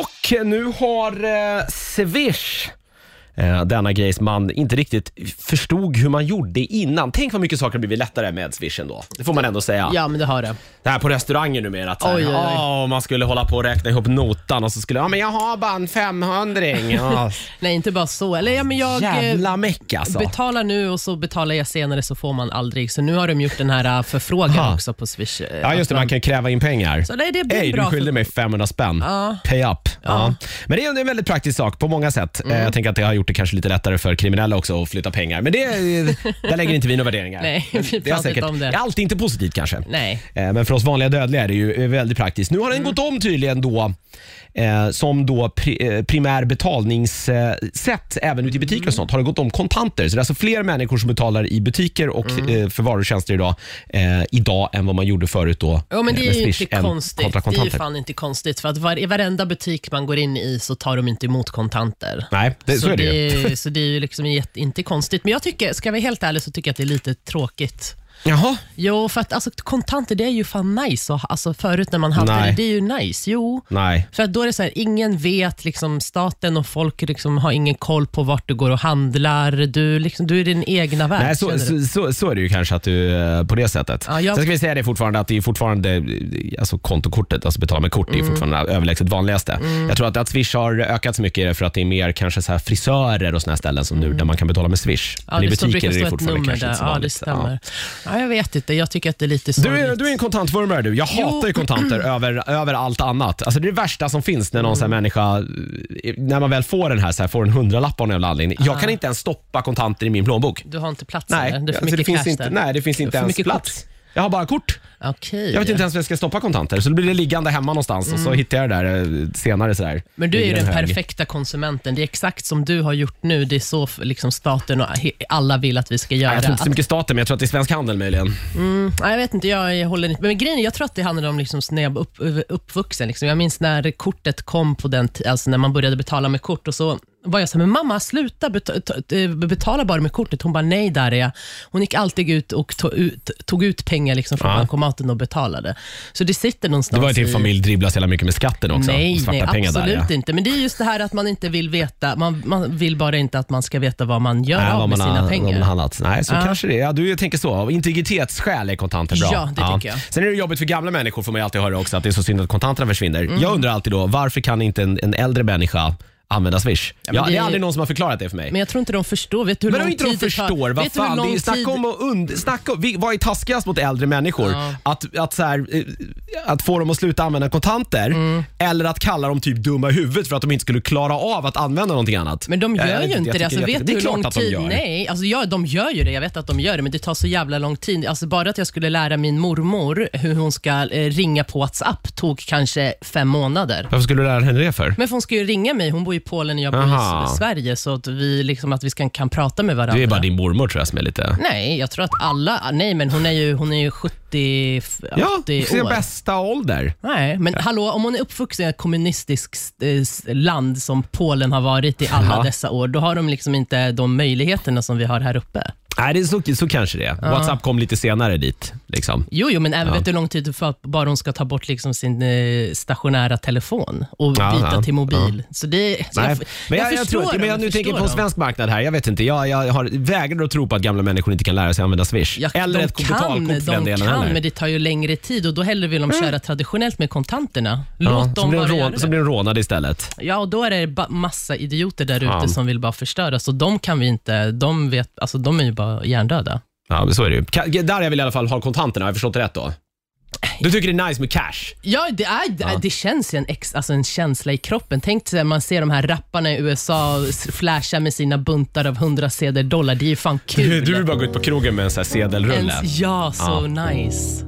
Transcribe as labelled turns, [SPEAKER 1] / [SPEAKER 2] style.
[SPEAKER 1] Och nu har eh, Swish eh, denna grej som man inte riktigt förstod hur man gjorde innan. Tänk vad mycket saker har blivit lättare med Swish ändå. Det får man ändå säga.
[SPEAKER 2] Ja, men det har det.
[SPEAKER 1] Det här på restauranger numera, att så här,
[SPEAKER 2] Oj, oj, oj.
[SPEAKER 1] "Ah, man skulle hålla på och räkna ihop notan och så skulle ja men jag har bara en 500 ja.
[SPEAKER 2] Nej, inte bara så. Eller, ja, men jag eh,
[SPEAKER 1] Jävla meck alltså.
[SPEAKER 2] betalar nu och så betalar jag senare så får man aldrig. Så nu har de gjort den här eh, förfrågan
[SPEAKER 1] Ha.
[SPEAKER 2] också på Swish. eh,
[SPEAKER 1] Ja just det,
[SPEAKER 2] att
[SPEAKER 1] man kan ju kräva in pengar.
[SPEAKER 2] Så nej, det blir
[SPEAKER 1] Hej,
[SPEAKER 2] bra
[SPEAKER 1] du skyllde
[SPEAKER 2] för-
[SPEAKER 1] mig 500 spänn. Pay up. Ja. Men det är en väldigt praktisk sak på många sätt.
[SPEAKER 2] Mm.
[SPEAKER 1] Eh, Jag tänker att det har gjort det kanske lite lättare för kriminella också att flytta pengar. Men det, där lägger inte vi några värderingar.
[SPEAKER 2] Nej, vi
[SPEAKER 1] Men det är
[SPEAKER 2] pratar inte om det.
[SPEAKER 1] är Alltid inte positivt kanske.
[SPEAKER 2] Nej.
[SPEAKER 1] Eh, Men för oss vanliga dödliga är det ju eh, väldigt praktiskt. Nu har
[SPEAKER 2] Mm.
[SPEAKER 1] den gått om tydligen då eh, som då pri- eh, primär betalningssätt även ute i butiker
[SPEAKER 2] Mm.
[SPEAKER 1] och sånt. Har det gått om kontanter? Så det är alltså fler människor som betalar i butiker och
[SPEAKER 2] Mm.
[SPEAKER 1] eh, för varor och tjänster idag, eh, idag än vad man gjorde förut då.
[SPEAKER 2] Ja, men det
[SPEAKER 1] eh,
[SPEAKER 2] är
[SPEAKER 1] med
[SPEAKER 2] ju
[SPEAKER 1] Swish
[SPEAKER 2] inte
[SPEAKER 1] än
[SPEAKER 2] konstigt.
[SPEAKER 1] kontra
[SPEAKER 2] Det är ju
[SPEAKER 1] kontanter.
[SPEAKER 2] fan inte konstigt. För att var, i varenda butik man går in i så tar de inte emot kontanter.
[SPEAKER 1] Nej, det, så, är det ju.
[SPEAKER 2] ju. Så det är ju liksom jätte, inte konstigt. Men jag tycker, ska jag vara helt ärlig, så tycker jag att det är lite tråkigt.
[SPEAKER 1] Jaha.
[SPEAKER 2] Jo, för att alltså, kontanter det är ju fan nice. Och, alltså, förut när man hade
[SPEAKER 1] Nej.
[SPEAKER 2] det, det är ju nice. Jo.
[SPEAKER 1] Nej.
[SPEAKER 2] För att då är det så här, ingen vet, liksom, staten och folk liksom, har ingen koll på vart du går och handlar. Du, liksom, du är i din egna värld.
[SPEAKER 1] Nej, så,
[SPEAKER 2] känner du.
[SPEAKER 1] så, så, så är det ju kanske att du eh, på det sättet.
[SPEAKER 2] Ja, jag-
[SPEAKER 1] Sen ska vi säga det fortfarande att det är fortfarande eh, alltså kontokortet, alltså betala med kort,
[SPEAKER 2] Mm.
[SPEAKER 1] det är fortfarande överlägset vanligaste. Jag tror att, att Swish har ökat så mycket är det för att det är mer kanske så här frisörer och såna här ställen som nu där man kan betala med Swish.
[SPEAKER 2] Mm. Ja,
[SPEAKER 1] i
[SPEAKER 2] det står, brukar
[SPEAKER 1] är det
[SPEAKER 2] stå ett
[SPEAKER 1] fortfarande
[SPEAKER 2] nummer
[SPEAKER 1] kanske
[SPEAKER 2] där.
[SPEAKER 1] inte så
[SPEAKER 2] Ja, det
[SPEAKER 1] vanligt.
[SPEAKER 2] stämmer. Ja. jag vet inte. Jag tycker att det är lite
[SPEAKER 1] Du
[SPEAKER 2] sorgligt.
[SPEAKER 1] är, du är en kontantvurmare du. Jag
[SPEAKER 2] Jo.
[SPEAKER 1] hatar ju kontanter över, över allt annat. Alltså det är det värsta som finns när någon
[SPEAKER 2] Mm.
[SPEAKER 1] så här människa, eh, när man väl får den här, så här får en hundralapp av någon jävla anledning. Jag kan inte ens stoppa kontanter i min plånbok.
[SPEAKER 2] Du har inte plats
[SPEAKER 1] Nej,
[SPEAKER 2] där. Det är för
[SPEAKER 1] alltså
[SPEAKER 2] mycket
[SPEAKER 1] det finns
[SPEAKER 2] cash
[SPEAKER 1] inte,
[SPEAKER 2] där.
[SPEAKER 1] nej, det finns inte
[SPEAKER 2] för
[SPEAKER 1] ens
[SPEAKER 2] mycket
[SPEAKER 1] plats. Jag har bara kort.
[SPEAKER 2] Okej.
[SPEAKER 1] Jag vet inte ens var jag ska stoppa kontanter. Så då blir det liggande hemma någonstans och så hittar jag det där eh, senare. Sådär.
[SPEAKER 2] Mm. Men du är ju
[SPEAKER 1] I en
[SPEAKER 2] den
[SPEAKER 1] hög.
[SPEAKER 2] perfekta konsumenten. Det är exakt som du har gjort nu. Det är så f- liksom staten och he- alla vill att vi ska göra.
[SPEAKER 1] Nej, jag tror inte
[SPEAKER 2] Att-
[SPEAKER 1] så mycket staten, men jag tror att det är Svensk Handel möjligen.
[SPEAKER 2] Nej, Mm. jag vet inte, jag jag håller inte. Men grejen är, jag tror att det handlar om liksom när jag var upp, uppvuxen. Liksom. Jag minns när kortet kom på den ti- alltså när man började betala med kort och så var jag så här, men mamma sluta beta- ta- eh, betala bara med kortet. Hon bara, nej Darja. Hon gick alltid ut och tog ut, tog ut pengar liksom från
[SPEAKER 1] Ja.
[SPEAKER 2] bankomaten och betalade. Så det sitter någonstans
[SPEAKER 1] Det var ju din
[SPEAKER 2] i-
[SPEAKER 1] familj dribblas jävla mycket med skatten också.
[SPEAKER 2] Nej,
[SPEAKER 1] och svarta
[SPEAKER 2] nej
[SPEAKER 1] pengar
[SPEAKER 2] absolut
[SPEAKER 1] där, ja.
[SPEAKER 2] inte. Men det är just det här att man inte vill veta. Man, man vill bara inte att man ska veta vad man gör
[SPEAKER 1] Nej,
[SPEAKER 2] av
[SPEAKER 1] vad
[SPEAKER 2] med
[SPEAKER 1] man,
[SPEAKER 2] sina
[SPEAKER 1] har, vad
[SPEAKER 2] pengar.
[SPEAKER 1] man har handlat. Nej, så
[SPEAKER 2] Ja.
[SPEAKER 1] kanske det är. Ja, du tänker så. Av integritetsskäl är kontanter bra.
[SPEAKER 2] Ja, det tycker jag.
[SPEAKER 1] Sen är det jobbigt för gamla människor, får man ju alltid höra också, att det är så synd att kontanterna försvinner.
[SPEAKER 2] Mm.
[SPEAKER 1] Jag undrar alltid då, varför kan inte en, en äldre människa använda Swish? Ja,
[SPEAKER 2] men
[SPEAKER 1] det,
[SPEAKER 2] det-
[SPEAKER 1] är aldrig någon som har förklarat det för mig.
[SPEAKER 2] Men jag tror inte de förstår. Vet du hur
[SPEAKER 1] Men
[SPEAKER 2] lång
[SPEAKER 1] om inte
[SPEAKER 2] tid
[SPEAKER 1] de
[SPEAKER 2] det
[SPEAKER 1] förstår,
[SPEAKER 2] tar?
[SPEAKER 1] vad
[SPEAKER 2] Vet du hur
[SPEAKER 1] fan, det är
[SPEAKER 2] lång
[SPEAKER 1] ju snacka
[SPEAKER 2] tid-
[SPEAKER 1] om att und- snacka om, vi- vad är taskigast mot äldre människor?
[SPEAKER 2] Ja.
[SPEAKER 1] Att, att, så här, eh, att få dem att sluta använda kontanter
[SPEAKER 2] Mm.
[SPEAKER 1] eller att kalla dem typ dumma i huvudet för att de inte skulle klara av att använda någonting annat.
[SPEAKER 2] Men de
[SPEAKER 1] Jag-
[SPEAKER 2] gör
[SPEAKER 1] jag vet
[SPEAKER 2] ju
[SPEAKER 1] jag
[SPEAKER 2] inte det.
[SPEAKER 1] tycker
[SPEAKER 2] Alltså,
[SPEAKER 1] jätte-
[SPEAKER 2] vet du hur
[SPEAKER 1] klart
[SPEAKER 2] lång
[SPEAKER 1] att de
[SPEAKER 2] tid?
[SPEAKER 1] gör.
[SPEAKER 2] Nej, alltså, ja, de gör ju det. Jag vet att de gör det, men det tar så jävla lång tid. Alltså, bara att jag skulle lära min mormor hur hon ska eh, ringa på WhatsApp tog kanske fem månader.
[SPEAKER 1] Varför skulle du lära henne det för?
[SPEAKER 2] Men för hon ska ju ringa mig. Hon bor i Polen och jag bor
[SPEAKER 1] Aha.
[SPEAKER 2] i Sverige, så att vi, liksom, att vi ska, kan prata med varandra.
[SPEAKER 1] Det är bara din mormor tror jag som är lite...
[SPEAKER 2] Nej, jag tror att alla... Nej, men hon är ju, hon är ju 70, 80
[SPEAKER 1] Ja, sin
[SPEAKER 2] år.
[SPEAKER 1] bästa ålder.
[SPEAKER 2] Nej, men hallå, om hon är uppvuxen i ett kommunistiskt eh, s- land som Polen har varit i alla
[SPEAKER 1] Ja.
[SPEAKER 2] dessa år, då har de liksom inte de möjligheterna som vi har här uppe.
[SPEAKER 1] Nej, det är så, så kanske det är. Whatsapp kom lite senare dit. Liksom.
[SPEAKER 2] Jo, jo men även
[SPEAKER 1] Ja.
[SPEAKER 2] vet du hur lång tid det tar bara hon ska ta bort liksom sin eh, stationära telefon och
[SPEAKER 1] Ja,
[SPEAKER 2] byta
[SPEAKER 1] ja,
[SPEAKER 2] till mobil. Så det, så
[SPEAKER 1] Nej,
[SPEAKER 2] jag, f-
[SPEAKER 1] men jag, jag,
[SPEAKER 2] förstår
[SPEAKER 1] tror att,
[SPEAKER 2] dem,
[SPEAKER 1] men jag, nu
[SPEAKER 2] förstår
[SPEAKER 1] tänker jag på en
[SPEAKER 2] dem.
[SPEAKER 1] svensk marknad här. Jag vet inte, jag, jag har, vägrar att tro på att gamla människor inte kan lära sig använda Swish.
[SPEAKER 2] Ja,
[SPEAKER 1] Eller
[SPEAKER 2] de
[SPEAKER 1] ett
[SPEAKER 2] kan,
[SPEAKER 1] betalkort för den
[SPEAKER 2] de
[SPEAKER 1] delen
[SPEAKER 2] kan,
[SPEAKER 1] heller.
[SPEAKER 2] men det tar ju längre tid och då hellre vill de köra traditionellt med kontanterna. Låt
[SPEAKER 1] Ja, så
[SPEAKER 2] dem
[SPEAKER 1] blir de
[SPEAKER 2] bara göra
[SPEAKER 1] rån,
[SPEAKER 2] det.
[SPEAKER 1] så blir de rånade istället.
[SPEAKER 2] Ja, och då är det ba- massa idioter där ute
[SPEAKER 1] Fan.
[SPEAKER 2] som vill bara förstöra, så de kan vi inte, de vet, alltså de är ju bara hjärndöda.
[SPEAKER 1] Ja, men så är det ju. Ka- Där jag vill i alla fall ha kontanterna, har jag förstått det rätt då? Du tycker det är nice med cash?
[SPEAKER 2] Ja, det, är, det- det känns ju en, ex, alltså en känsla i kroppen. Tänk dig när man ser de här rapparna i USA s- flasha med sina buntar av 100 sedel dollar. Det är ju fan kul.
[SPEAKER 1] Du, du vill bara gå ut på krogen med en sån här sedelrulle.
[SPEAKER 2] Ens, ja, så nice.